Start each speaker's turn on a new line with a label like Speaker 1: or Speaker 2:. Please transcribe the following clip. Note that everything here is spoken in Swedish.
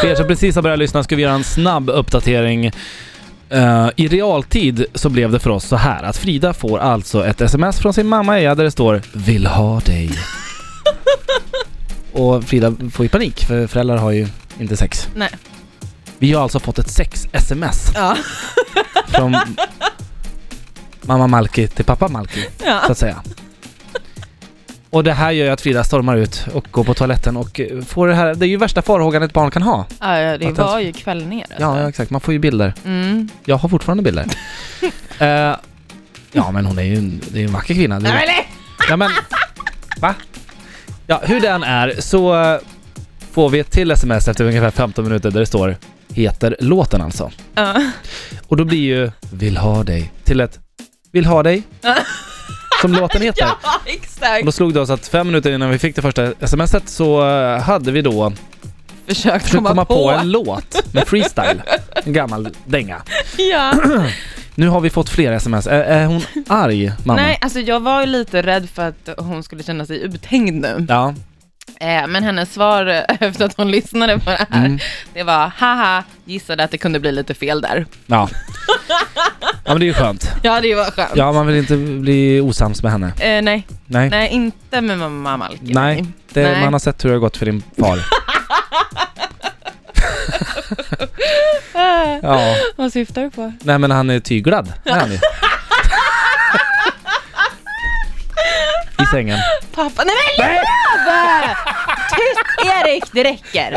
Speaker 1: För er som precis har börjat lyssna ska vi göra en snabb uppdatering. Eh, I realtid så blev det för oss så här att Frida får alltså ett sms från sin mamma Eja där det står “Vill ha dig”. Och Frida får ju panik för föräldrar har ju inte sex.
Speaker 2: Nej.
Speaker 1: Vi har alltså fått ett sex-sms
Speaker 2: Ja.
Speaker 1: från mamma Malki till pappa Malki så
Speaker 2: ja.
Speaker 1: att säga. Och det här gör ju att Frida stormar ut och går på toaletten och eh, får det här, det är ju värsta farhågan ett barn kan ha.
Speaker 2: ja, ja, det
Speaker 1: Att
Speaker 2: var ju kvällningar alltså.
Speaker 1: Ja, ja exakt, man får ju bilder.
Speaker 2: Mm.
Speaker 1: Jag har fortfarande bilder. Eh, ja men hon är ju en, det är ju en vacker kvinna. Det är-
Speaker 2: Nej,
Speaker 1: Ja men, va? Ja hur den är så eh, får vi ett till sms efter ungefär 15 minuter där det står Heter låten alltså.
Speaker 2: men-
Speaker 1: Och då blir ju Vill ha dig till ett Vill ha dig som låten
Speaker 2: ja.
Speaker 1: heter.
Speaker 2: ja,
Speaker 1: Och
Speaker 2: exakt.
Speaker 1: då slog det oss att fem minuter innan vi fick det första smset så eh, hade vi då
Speaker 2: Försök
Speaker 1: försökt komma, på. en låt med freestyle. En gammal dänga.
Speaker 2: Ja.
Speaker 1: Nu har vi fått fler sms. Är, är hon arg mamma?
Speaker 2: Nej, alltså jag var ju lite rädd för att hon skulle känna sig uthängd nu.
Speaker 1: Ja.
Speaker 2: Eh, men hennes svar eh, efter att hon lyssnade på det här,
Speaker 1: Mm.
Speaker 2: det var haha, gissade att det kunde bli lite fel där.
Speaker 1: Ja. Ja men det är ju skönt.
Speaker 2: Ja, det var skönt.
Speaker 1: Ja man vill inte bli osams med henne.
Speaker 2: Eh, nej,
Speaker 1: Nej.
Speaker 2: nej, inte med mamma Malkin.
Speaker 1: Nej, det,
Speaker 2: Nej.
Speaker 1: man har sett hur det har gått för din far.
Speaker 2: Eh,
Speaker 1: Ja.
Speaker 2: vad syftar du på?
Speaker 1: Nej men han är tyglad. Det är han ju. I sängen.
Speaker 2: Pappa, nej men Lööf! Tyst Erik, det räcker.